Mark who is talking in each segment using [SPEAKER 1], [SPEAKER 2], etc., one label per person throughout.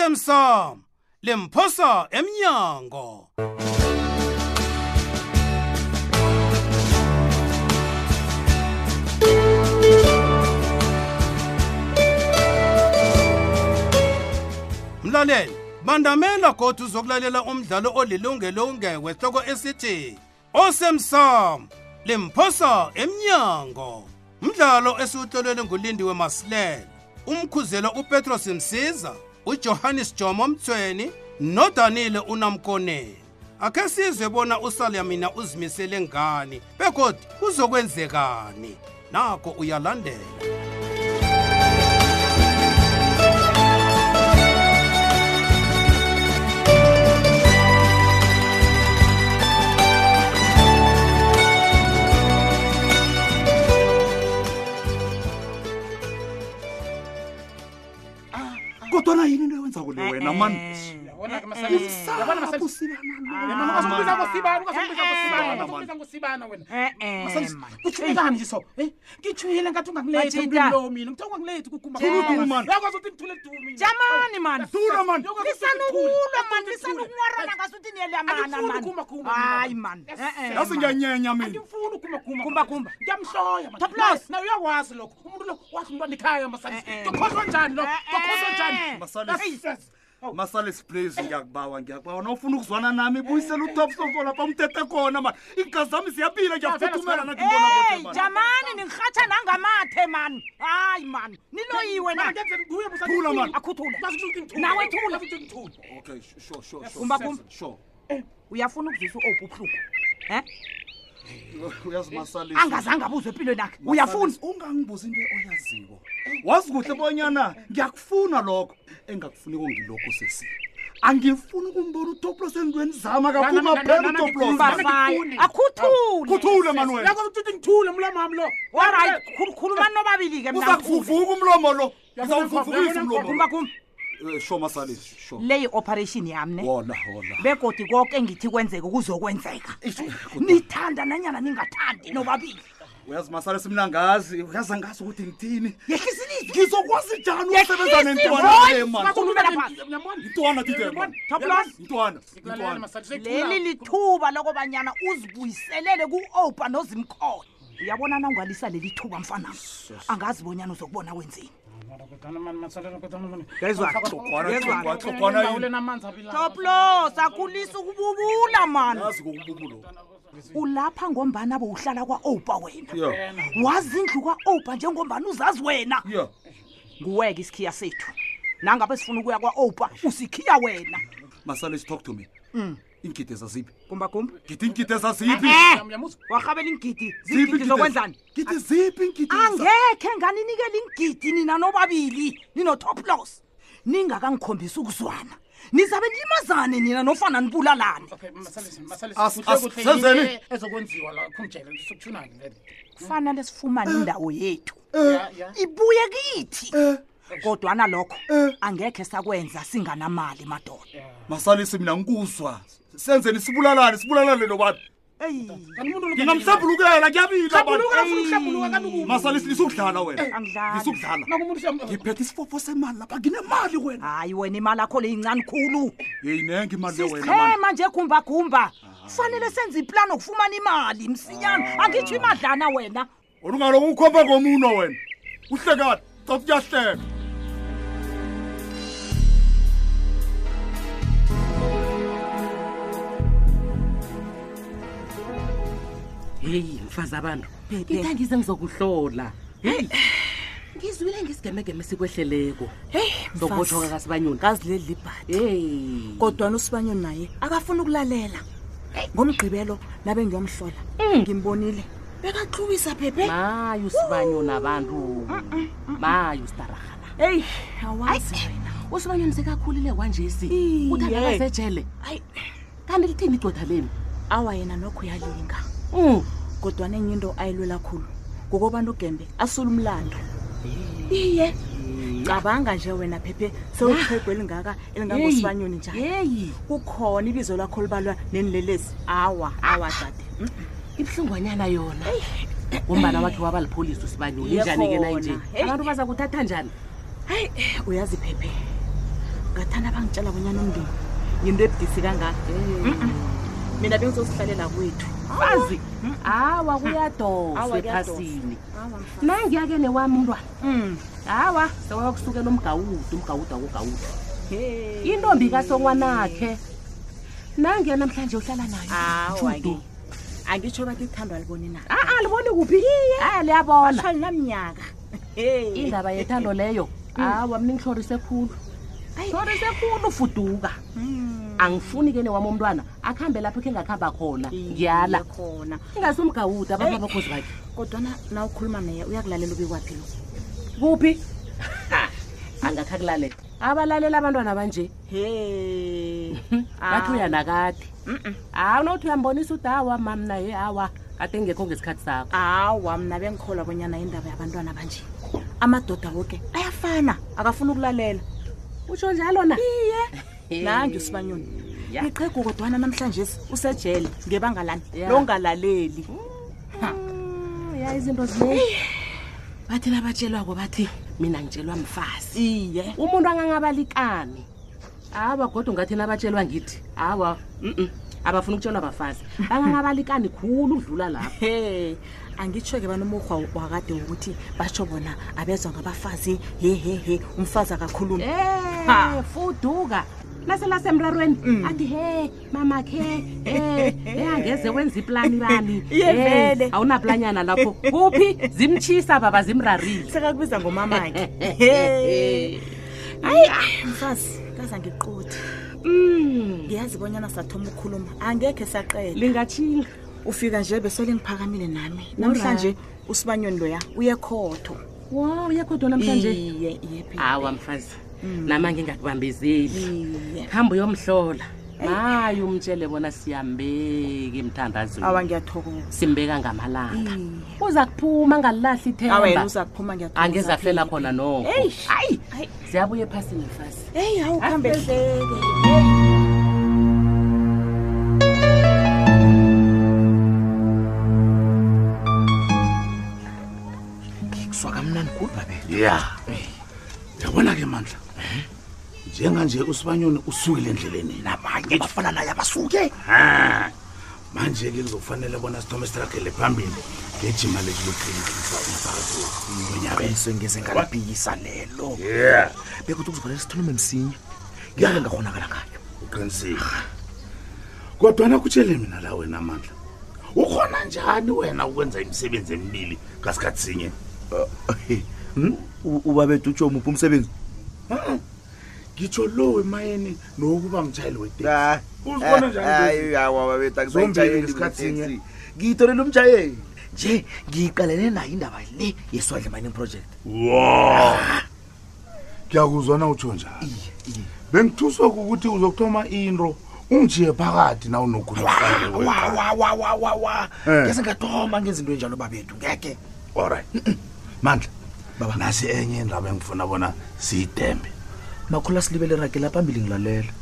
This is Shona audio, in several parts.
[SPEAKER 1] osemsamo lemphosa emnyango mlaleli bandamela kodwa uzokulalela umdlalo olilungelo ungekwehloko esithi osemsamo limphosa emnyango umdlalo esiwuhlolelwe ngulindiwe masilela umkhuzelo upetros msiza ujohannes jomo mthweni nodanile unamkoneni akhe sizwe bona usalyamina uzimisele ngani begodi kuzokwenzekani nako uyalandela
[SPEAKER 2] kodwana yini into yowenzako le
[SPEAKER 3] Eh,
[SPEAKER 2] wena
[SPEAKER 4] Eh,
[SPEAKER 2] mani
[SPEAKER 4] Yabona
[SPEAKER 5] Eh,
[SPEAKER 4] ke Masango. Yabona Ah. Masango.
[SPEAKER 2] masausibana
[SPEAKER 4] Ungasumbiza ngosibana, ungasumbiza
[SPEAKER 5] Eh, eh.
[SPEAKER 4] ngosibana, ungasumbiza ngosibana wena. Masango,
[SPEAKER 5] e-e
[SPEAKER 4] utshume kanti so Eh, ngitshwile ngathi ungangilethi
[SPEAKER 5] Majida.
[SPEAKER 4] emntwini lowo mina ngithe ungangilethi kukhumba
[SPEAKER 2] Thula udumo, man.
[SPEAKER 4] uyakwazi ukuthi ngithule dumo mina
[SPEAKER 5] jamani mani
[SPEAKER 2] Thula, man.
[SPEAKER 4] Uyakwazi ukuthi ngithule.
[SPEAKER 5] lisanukulwa mani
[SPEAKER 4] Ngithule.
[SPEAKER 5] lisanukunwarana ngasuthi niyelamana
[SPEAKER 4] Andifuni
[SPEAKER 5] mani
[SPEAKER 4] ukugumagumbana,
[SPEAKER 5] hayi Eh,
[SPEAKER 4] man.
[SPEAKER 5] mani
[SPEAKER 6] Eh,
[SPEAKER 4] Yes,
[SPEAKER 5] e-e
[SPEAKER 4] yes.
[SPEAKER 2] yase ngiyanyenya mina
[SPEAKER 4] andimfuni ukumaguma
[SPEAKER 5] Gumbagumba.
[SPEAKER 4] ngiyamhloya man.
[SPEAKER 5] Top loss.
[SPEAKER 4] naye uyakwazi lokho umuntu lo wathi umntwana ekhaya Masango.
[SPEAKER 5] Eh, eh.
[SPEAKER 4] Tokhohlwa njani lo
[SPEAKER 5] Eh, eh.
[SPEAKER 4] Tokhohlwa njani
[SPEAKER 2] Masango.
[SPEAKER 4] Yes, yes.
[SPEAKER 2] masalis Oh. please ngiyakubawa ngiyakubawa nawufuna ukuzwana nami buyisela utopsofo lapha umtete khona mani iinkazi zami ziyapila ngiyafuthumela
[SPEAKER 4] eh,
[SPEAKER 5] eyi
[SPEAKER 2] nakibona
[SPEAKER 5] jamani nirhatsha nangamathe mani hayi mani niloyiwe na
[SPEAKER 4] Ngenzeni nguye Masango.
[SPEAKER 2] Thula, man.
[SPEAKER 5] akhuthule
[SPEAKER 4] Ngathi uthi ngithule.
[SPEAKER 5] Nawe thula.
[SPEAKER 4] Ngathi uthi ngithule.
[SPEAKER 2] okay sure sure sure
[SPEAKER 5] Gumba, gumba.
[SPEAKER 2] sure
[SPEAKER 5] Eh, uyafuna ukuzisa u-ope ubuhlungu um
[SPEAKER 2] uyazi masalis
[SPEAKER 5] angazange abuzwe empilweni akhe uyafuna
[SPEAKER 2] Masalis, ungangibuza into oyaziko wazi kuhle bonyana ngiyakufuna lokho engakufuniko ngilokho sesi angifuni ukumbona utoplos endweni zama
[SPEAKER 4] Na, na, na, na,
[SPEAKER 2] kakumaphela
[SPEAKER 4] na, na,
[SPEAKER 2] utoplos
[SPEAKER 4] ngifuna.
[SPEAKER 5] mbafaya
[SPEAKER 4] ngithule.
[SPEAKER 5] akhuthule
[SPEAKER 2] kuthule mani wena
[SPEAKER 4] Uyakwazi ukuthi uthi ngithule mlamo wami lo
[SPEAKER 5] olright khulumani nobabili-ke mnakumba
[SPEAKER 2] uzakuvuvuka umlomo lo
[SPEAKER 4] Uyabona,
[SPEAKER 2] uzawuvuvukisa
[SPEAKER 4] uyabona,
[SPEAKER 2] umlomo Eh,
[SPEAKER 5] kumba
[SPEAKER 2] sho masalis sho
[SPEAKER 5] le yi-operation yami ne
[SPEAKER 2] wona wona
[SPEAKER 5] begodi konke engithi kwenzeke kuzokwenzeka
[SPEAKER 2] Ish, kutu-
[SPEAKER 5] nithanda nanyana ningathandi nobabili
[SPEAKER 2] uyazi masalis mina ngazi uyazi angazi ukuthi ngithini
[SPEAKER 5] yehlisa ilizwi
[SPEAKER 2] ngizokwazi njani
[SPEAKER 5] Yehlisa
[SPEAKER 2] usebenza
[SPEAKER 5] i-voice,
[SPEAKER 2] nentwana le mani
[SPEAKER 5] maku- Ukhulumela phansi.
[SPEAKER 2] intwana tite
[SPEAKER 5] Top loss.
[SPEAKER 2] intwana
[SPEAKER 4] Ngikulalele,
[SPEAKER 2] intwana
[SPEAKER 4] Masango. Sekuthula.
[SPEAKER 5] leli lithuba lokobanyana uzibuyiselele ku-opa nozimkhona uyabona na ungalisa leli thuba mfana angazi bonyana uzokubona wenzeni toplo sakhulisa ukububula mani
[SPEAKER 2] yazi kokububulo
[SPEAKER 5] ulapha ngombana bowuhlala kwa-opa wena
[SPEAKER 2] ya
[SPEAKER 5] wazi indlu kwa-opa njengombana uzazi wena
[SPEAKER 2] ya
[SPEAKER 5] nguweke isikhiya sethu nangabe sifuna ukuya kwa-opa usikhiya wena
[SPEAKER 2] masalis talk to me iingidi ezaziphi
[SPEAKER 5] gumbagumba
[SPEAKER 2] ngithi iingidi ezaziphi
[SPEAKER 5] Eh! warhabela iingidi zigidi zokwenzani
[SPEAKER 2] ngithi ziphi iingidi
[SPEAKER 5] angekhe nganinikela ingidi nina nobabili ninotoplos ningakangikhombisi ukuzwana nizabe nilimazane nina nofana nibulalane
[SPEAKER 2] As- as- senzeni?
[SPEAKER 4] ezokwenziwa la khumjele sokuthunani ngeke
[SPEAKER 5] kufanele sifumane indawo yethu
[SPEAKER 4] Eh. ya ya Eh.
[SPEAKER 5] ibuye kithi kodwana lokho angekhe sakwenza singanamali madoda
[SPEAKER 2] masalis mina ngikuzwa senzeni sibulalane sibulalane nobantu
[SPEAKER 5] eyi
[SPEAKER 4] kanti umuntu lo-
[SPEAKER 2] nginamhlambulukela kuyabila
[SPEAKER 4] Mhlambuluka, ufuna ukuhlambuluka kanti ukuphi?
[SPEAKER 2] masalis nisukudlala wena
[SPEAKER 5] Angidlali.
[SPEAKER 2] nisukudlala
[SPEAKER 4] Naku umuntu siyamu-
[SPEAKER 2] ngiphethe isifofo semali lapha nginemali wena
[SPEAKER 5] hayi wena imali yakho le yincane khulu
[SPEAKER 2] yeyi nenga imali le wena mani
[SPEAKER 5] sisichema nje gumbagumba kufanele senze iplani okufumana imali msinyana angitsho imadlana wena
[SPEAKER 2] olungaloku Ah. ukhomba ngomuno wena uhlekani sathi kuyahleka
[SPEAKER 7] heyi mfazi abantu
[SPEAKER 5] Pepe.
[SPEAKER 7] intangize ngizokuhlola heyi ngizwile ngesigemegeme sikwehleleko zokubothoka kasibanyoni
[SPEAKER 3] kazileli libhadi
[SPEAKER 7] heyi
[SPEAKER 3] kodwana usibanyoni naye akafuni ukulalela ngomgqibelo nabe ngiyomhlola ngimbonile bekaxubisa phephe
[SPEAKER 7] mayi usibanyoni
[SPEAKER 3] Uh-uh,
[SPEAKER 7] abantu mayi usitarahala
[SPEAKER 3] eyi awazi wena
[SPEAKER 7] usibanyoni sekakhulile kwanje si
[SPEAKER 3] Iye.
[SPEAKER 7] uthathakasejele
[SPEAKER 3] hayi
[SPEAKER 7] kanti lithini idoda leni
[SPEAKER 3] awa yena nokho uyalinga
[SPEAKER 7] Mm.
[SPEAKER 3] kodwana enye into ayilwela khulu ngokobantu ugembe asule umlando iye Ah. cabanga nje wena phephe sewuthego elingaka
[SPEAKER 7] Yeyi.
[SPEAKER 3] elingangosibanyoni njalo
[SPEAKER 7] yeyi
[SPEAKER 3] kukhona ibizo lakho libalwa nenilelesi awa awa dade Mm.
[SPEAKER 7] ibuhlungwanyana yona umbana wakhe wabalipholisa usibanyoni
[SPEAKER 3] Iye
[SPEAKER 7] njani-ke
[SPEAKER 3] khona.
[SPEAKER 7] nayinje
[SPEAKER 3] Hey.
[SPEAKER 7] abantu baza kuthatha njani
[SPEAKER 3] hayi uyazi phephe ngathana bangitshela bonyana umndeni yinto ebudisi kangaka Mm-mm. mina bengizosihlalela kwethu
[SPEAKER 7] fazi awa
[SPEAKER 3] Awa,
[SPEAKER 7] kuyadoswa
[SPEAKER 3] kuyadosa. Mm.
[SPEAKER 7] ephasini nangiya-ke newami umntwana hawa sewayokusukela umgawuda umgawuda wogawuda intombi kasongwanakhe nangiya namhlanje uhlala nayo
[SPEAKER 3] awa-ke
[SPEAKER 7] Judu.
[SPEAKER 3] angitsho bathi ithandwa liboni na
[SPEAKER 7] Ah, ah, liboni kuphi a Ah, liyabona
[SPEAKER 3] shalinamnyaka
[SPEAKER 7] indaba yethando leyo
[SPEAKER 3] Mm.
[SPEAKER 7] awa mna ngihlorise khulu hlorise khulu fuduka
[SPEAKER 3] Mm.
[SPEAKER 7] angifuni-ke newami umntwana akuhambe lapho khe ngakuhamba khona ngiyala
[SPEAKER 3] khona
[SPEAKER 7] ingasumgawuda abantu abakhozi bakhe
[SPEAKER 3] kodwana na ukhuluma naye uyakulalela ubekwaphi lo
[SPEAKER 7] kuphi angakhakulalela abalalela abantwana banje
[SPEAKER 3] he
[SPEAKER 7] Hmm,
[SPEAKER 3] Ah.
[SPEAKER 7] bathi uyanakade hawu nokuthi Ah, uyambonisa uthi awa mami naye awa kade ngekho ngesikhathi sakho
[SPEAKER 3] awa mna bengikholwa bonyana indaba yabantwana banje amadoda woke ayafana akafuni ukulalela
[SPEAKER 7] utsho njalo na iye
[SPEAKER 3] nange usibanyoni
[SPEAKER 7] Ya.
[SPEAKER 3] iqhegu kodwana namhlanje usejele ngebanga lani
[SPEAKER 7] Ya. Hmm.
[SPEAKER 3] longalaleli
[SPEAKER 7] Oh, ya izinto zineyi bathi nabatshelwako bathi mina ngitshelwa mfazi
[SPEAKER 3] iye
[SPEAKER 7] umuntu angangabalikani awa kodwa ungathi nabatshelwa ngithi awa mm-mm, abafuni ukutshelwa bafazi bangangabalikani khulu ukudlula lapho
[SPEAKER 3] he angitsho-ke banomurhwa wakade wokuthi batsho bona abezwa ngabafazi hehehe umfazi akakhulumi
[SPEAKER 7] Eh,
[SPEAKER 3] Ha. Mm.
[SPEAKER 7] fuduka naselasemrarweni athi he mamakhe eh, eh, angeze wenza iplani bani
[SPEAKER 3] Iye
[SPEAKER 7] Eh,
[SPEAKER 3] vele.
[SPEAKER 7] awunaplanyana lapho kuphi zimtshisa baba zimrarile
[SPEAKER 3] sekakubiza ngomamake hayi ah, mfazi kaza ngiqothi
[SPEAKER 7] Mm,
[SPEAKER 3] ngiyazi bonyana sathoma ukukhuluma angekhe saqela
[SPEAKER 7] lingatshinga
[SPEAKER 3] ufika nje besele ngiphakamile nami namhlanje usibanyoni loya uyekhotho Ee.
[SPEAKER 7] wo uyakhodwa namhlanje
[SPEAKER 3] iye iye phela. Mm.
[SPEAKER 7] awa mfazi nama ngingakubambezeli
[SPEAKER 3] iye
[SPEAKER 7] hambe uyomhlola hayi umtshele bona siyambeka
[SPEAKER 3] awa
[SPEAKER 7] emthandazweni
[SPEAKER 3] ngiyathokoza
[SPEAKER 7] simbeka ngamalanga
[SPEAKER 3] Iye.
[SPEAKER 7] Ee. uza kuphuma ngalilahli
[SPEAKER 3] awena
[SPEAKER 7] ithemba
[SPEAKER 3] Ah, uza kuphuma ngiyathokoza.
[SPEAKER 7] angeze afela khona noko
[SPEAKER 3] Eish.
[SPEAKER 7] hayi
[SPEAKER 3] Hayi.
[SPEAKER 7] ziyabuya ephasini mfasi
[SPEAKER 3] eyi hawu kuhambe hleke
[SPEAKER 8] swakamnani khulu babethu
[SPEAKER 6] ya yabona-ke mandla njenganje usibanyoni usukile endleleni
[SPEAKER 8] nabanye abafana naye abasuke
[SPEAKER 6] Ha. manje-ke kuzokufanele bona sithome siragele phambili ngejima leliloqinisa umphakathi wonyabes
[SPEAKER 8] sengize ngaliphikisa lelo
[SPEAKER 6] ya
[SPEAKER 8] bekuthi kuzofanele sithulume msinya ngiyake ngakhonakala ngayo
[SPEAKER 6] uqinisile kodwana Ah. kutshele mina la wena mandla ukhona njani wena ukwenza imisebenzi emibili ngasikhathi sinye Uh,
[SPEAKER 8] hmm? ubabethu utsho muphi umsebenzi
[SPEAKER 6] Ha. ngitsho lo emayeni nowokuba mtshayeli weteksi
[SPEAKER 8] Ah, Eh,
[SPEAKER 6] uzibona njani
[SPEAKER 8] babethu
[SPEAKER 6] Zombili ngesikhathi sinye.
[SPEAKER 8] ngiyitholele umjayeli nje ngiyiqalene nayo indaba le yeswandle mining project Ah.
[SPEAKER 6] wo ngiyakuzwana utsho njani bengithuswa kukuthi uzokuthoma into ungijiye phakathi na
[SPEAKER 8] wawawawawawa
[SPEAKER 6] Eh.
[SPEAKER 8] ngese ngathoma ngezinto enjalo babethu ngeke
[SPEAKER 6] olright mandla baba nasi enye indaba engifuna bona siyitembe
[SPEAKER 8] makhulu asilibele ragela phambili ngilalela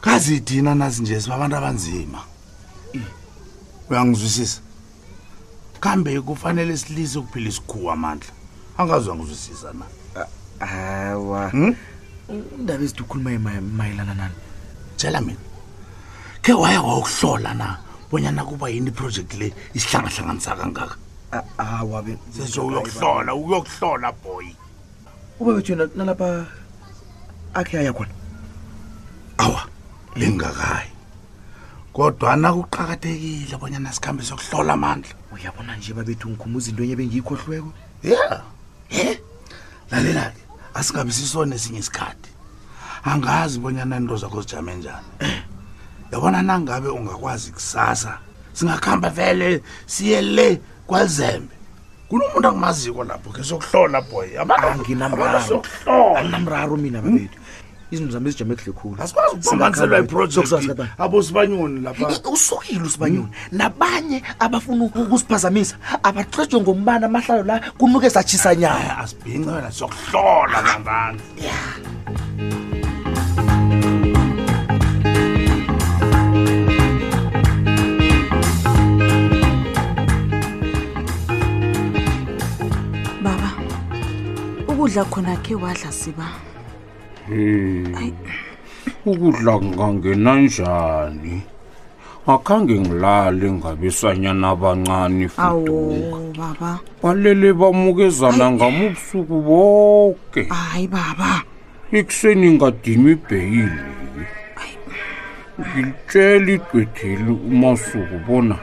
[SPEAKER 6] kazidina nazi nje sibabantu abanzima
[SPEAKER 8] Eh.
[SPEAKER 6] uyangizwisisa kambe kufanele silise ukuphila isikhuwa amandla angazi uyangizwisisa na
[SPEAKER 8] hawa
[SPEAKER 6] Hmm?
[SPEAKER 8] indaba ezithi ukhuluma mayelana nani
[SPEAKER 6] tshela mina khe waye wawukuhlola na bonyana kuba yini iprojekthi le isihlangahlanganisa kangaka
[SPEAKER 8] hawa be
[SPEAKER 6] sesho uyokuhlola uyokuhlola boy
[SPEAKER 8] uba bethu yena nalapha akhe aya khona
[SPEAKER 6] awa lingakayi kodwana kuqakathekile bonyana sikhambe sokuhlola amandla
[SPEAKER 8] uyabona nje babethu ngikhuma izinto enye bengiyikhohlweko
[SPEAKER 6] ya he lalela-ke asingabe sisone esinye isikhathi angazi bonyana into zakho zijame njani yabona nangabe ungakwazi kusasa singakuhamba vele siye le kwazembe kunomuntu angumaziko lapho ke sokuhlola boy Abantu- abantu
[SPEAKER 8] anginamraro
[SPEAKER 6] sokuhlola
[SPEAKER 8] anginamraro mina babethu izinto zami ezijame kuhle khulu
[SPEAKER 6] asikwazi ukubambanzelwa iprojekthi
[SPEAKER 8] Sokuzazi
[SPEAKER 6] abosibanyoni lapha
[SPEAKER 8] I- usukile usibanyoni nabanye abafuna ukusiphazamisa abatlejwe ngombani amahlalo la kunuke satshisanyana
[SPEAKER 6] asibhince wena sokuhlola
[SPEAKER 8] Ah,
[SPEAKER 6] ngamandla
[SPEAKER 3] baba ukudla khona khe wadla siba
[SPEAKER 9] Hmm. ukudla kungangena njani akhange ngilale ngabesanyana abancane fuduka
[SPEAKER 3] awo baba
[SPEAKER 9] balele bamukezana ngamubusuku bonke
[SPEAKER 3] hayi baba
[SPEAKER 9] ekuseni ngadinwa ibheyili ngilitshela igqwetheli umasuku bona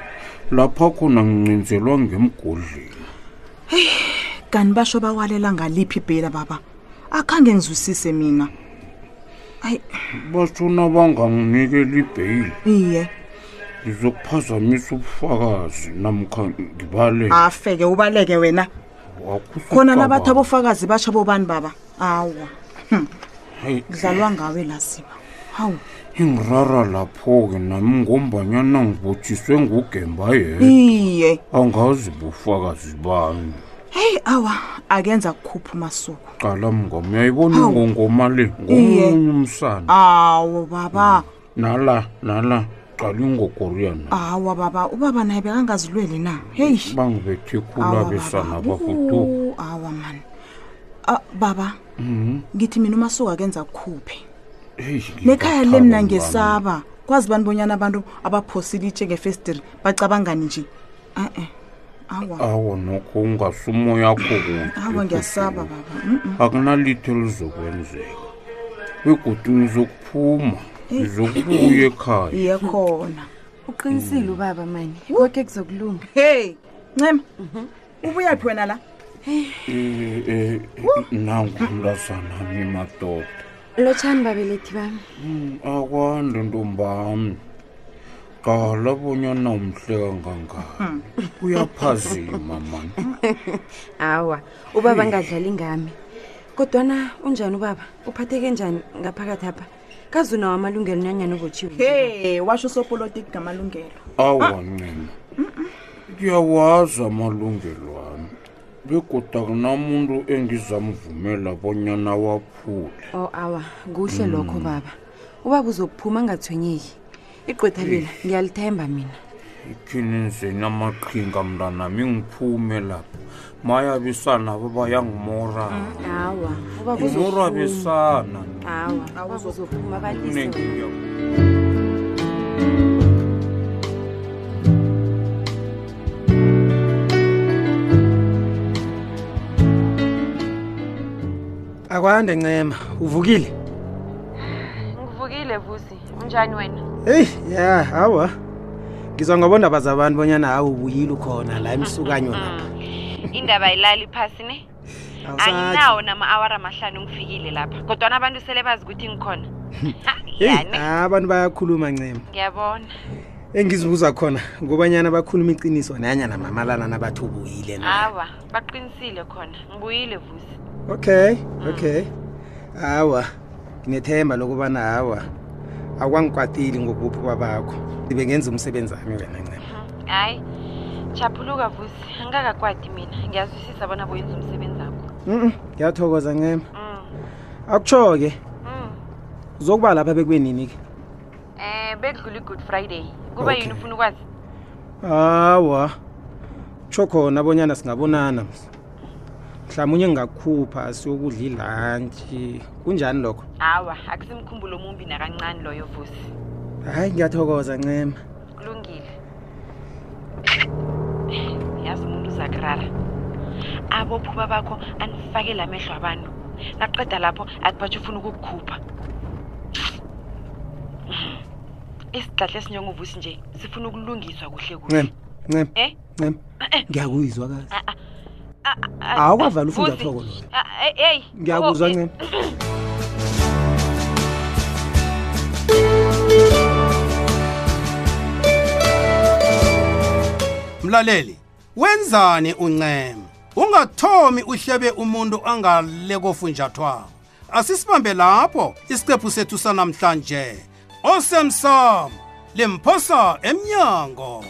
[SPEAKER 9] lapha khona ngincinzelwa ngemgodleni
[SPEAKER 3] kanti basho bawalela ngaliphi ibhela baba akhange ngizwisise mina hayi
[SPEAKER 9] bashona banganginikeli ibheyili
[SPEAKER 3] iye
[SPEAKER 9] ngizokuphazamisa ubufakazi namkha ngibale
[SPEAKER 3] Ah. afeke ubaleke wena khona labathi abofakazi basho bobani baba awa dlalwa ngawe laziba hawu
[SPEAKER 9] ingirara lapho-ke nami ngombanyana ngibotshiswe ngugemba yena
[SPEAKER 3] iye
[SPEAKER 9] angazi bufakazi bami
[SPEAKER 3] heyi awa akenza kukhupha umasuku
[SPEAKER 9] cala mngoma uyayibona
[SPEAKER 3] Hawu.
[SPEAKER 9] ingongoma le
[SPEAKER 3] Iye.
[SPEAKER 9] ngomunye umsana
[SPEAKER 3] awo baba
[SPEAKER 9] nala nala cala ingogoriyana
[SPEAKER 3] awa baba ubaba naye bekangazilweli na heyi
[SPEAKER 9] bangibethe khulu
[SPEAKER 3] Awa,
[SPEAKER 9] abesana
[SPEAKER 3] baba.
[SPEAKER 9] bafuduka
[SPEAKER 3] Wu, awa mani Ah, baba
[SPEAKER 9] Mhm.
[SPEAKER 3] ngithi mina umasuku akenza kukhuphe
[SPEAKER 9] Eish,
[SPEAKER 3] nekhaya
[SPEAKER 9] ngingathaba
[SPEAKER 3] le
[SPEAKER 9] ngani.
[SPEAKER 3] mna ngesaba kwazi bani bonyana abantu abaphosile itshe ngefestiri bacabangani nje e-e awa
[SPEAKER 9] awa nokho ungasumoya akho
[SPEAKER 3] awa ngiyasaba
[SPEAKER 9] kude
[SPEAKER 3] baba Mm, mm.
[SPEAKER 9] akunalitho elizokwenzeka begodu ngizokuphuma ngizokubuya ekhaya
[SPEAKER 3] iye khona
[SPEAKER 10] uqinisile ubaba mani konke kuzokulunga
[SPEAKER 3] heyi ncema ubuyaphi wena la
[SPEAKER 9] Eh, eh, nangumntasanami madoda
[SPEAKER 10] lotshani babelethi bami
[SPEAKER 9] akwande ntombami qala bonyana umhle kangangani uyaphazima mani
[SPEAKER 10] hawa ubaba ngadlali ngami kodwana unjani ubaba uphatheke njani ngaphakathi apha kazunawo amalungelo nanyani ubotshiwe
[SPEAKER 3] he washo usopolitiki ngamalungelo
[SPEAKER 9] awa ncema ngiyawazi amalungelo ami begoda kunamuntu engizamvumela bonyana waphule
[SPEAKER 10] o Oh, awa kuhle lokho baba ubaba uzokuphuma angathwenyeki igqwetha lela ngiyalithemba mina
[SPEAKER 9] ikhininzeni amaqhinga mntanami ngiphume lapha mayabisana
[SPEAKER 10] Hmm.
[SPEAKER 9] babayangimorana
[SPEAKER 10] hawa ubaba
[SPEAKER 9] umorwa
[SPEAKER 10] uzokuphuma.
[SPEAKER 9] besana
[SPEAKER 10] Awa, ubaba uzokuphuma balise
[SPEAKER 9] kunengi ngiyaku-
[SPEAKER 11] akwande ncema uvukile
[SPEAKER 10] ngivukile vusi unjani wena
[SPEAKER 11] eyi ya hawa ngizwa ngobondaba zabantu bonyana hawu ubuyile ukhona la emsukanyo lapha
[SPEAKER 10] indaba ayilali phasi ne
[SPEAKER 11] Awusathi.
[SPEAKER 10] anginawo nama-awara amahlanu ngifikile lapha kodwana abantu sele bazi ukuthi ngikhona Ha,
[SPEAKER 11] Eyi,
[SPEAKER 10] yani
[SPEAKER 11] ah, abantu bayakhuluma ncema
[SPEAKER 10] ngiyabona
[SPEAKER 11] engizibuza khona ngobanyana bakhuluma iqiniso nanyana mamalana nabathi ubuyile na
[SPEAKER 10] awa baqinisile khona ngibuyile vusi
[SPEAKER 11] okay
[SPEAKER 10] Ah.
[SPEAKER 11] okay hawa nginethemba lokubana hawa akwangikwatile ngokubuphuka bakho ndibe ngenza umsebenzi wami wena ncema
[SPEAKER 10] Mhm, hayi chaphuluka vusi angingakakwadi mina ngiyazwisisa bona boyenza umsebenzi akho
[SPEAKER 11] Mm, mm, ngiyathokoza ncema
[SPEAKER 10] um
[SPEAKER 11] akutsho-ke
[SPEAKER 10] Ah.
[SPEAKER 11] uzokuba lapha bekwenini-ke
[SPEAKER 10] Eh, bekudlula i-good friday kuba
[SPEAKER 11] Okay.
[SPEAKER 10] yini ufuna ukwazi
[SPEAKER 11] hawa tsho khona abonyana singabonana mhlawumunye ngingakhupha siyokudla ilantshi kunjani lokho
[SPEAKER 10] hawa akusimkhumbulo omumbi nakancane loyo vusi
[SPEAKER 11] hayi ngiyathokoza ncema
[SPEAKER 10] kulungile yazi umuntu uzakurara abophuma bakho anifakele amehlo abantu naqeda lapho athi batsho ufuna ukukukhupha isigadla esinjengovusi nje sifuna ukulungiswa kuhle kuhle
[SPEAKER 11] ncema ncema
[SPEAKER 10] Eh?
[SPEAKER 11] ncema ngiyakuyizwa kazi
[SPEAKER 10] Ah,
[SPEAKER 11] awukwavala
[SPEAKER 10] Vusi.
[SPEAKER 11] ufunjathoko loyo
[SPEAKER 10] Ah, eh, eyi
[SPEAKER 11] ngiyakuzwa
[SPEAKER 10] Oh, eh,
[SPEAKER 11] ncema
[SPEAKER 1] mlaleli wenzani uncema ungathomi uhlebe umuntu angale kofunjathwako asisibambe lapho isiqephu sethu sanamhlanje osemsamo limphosa emnyango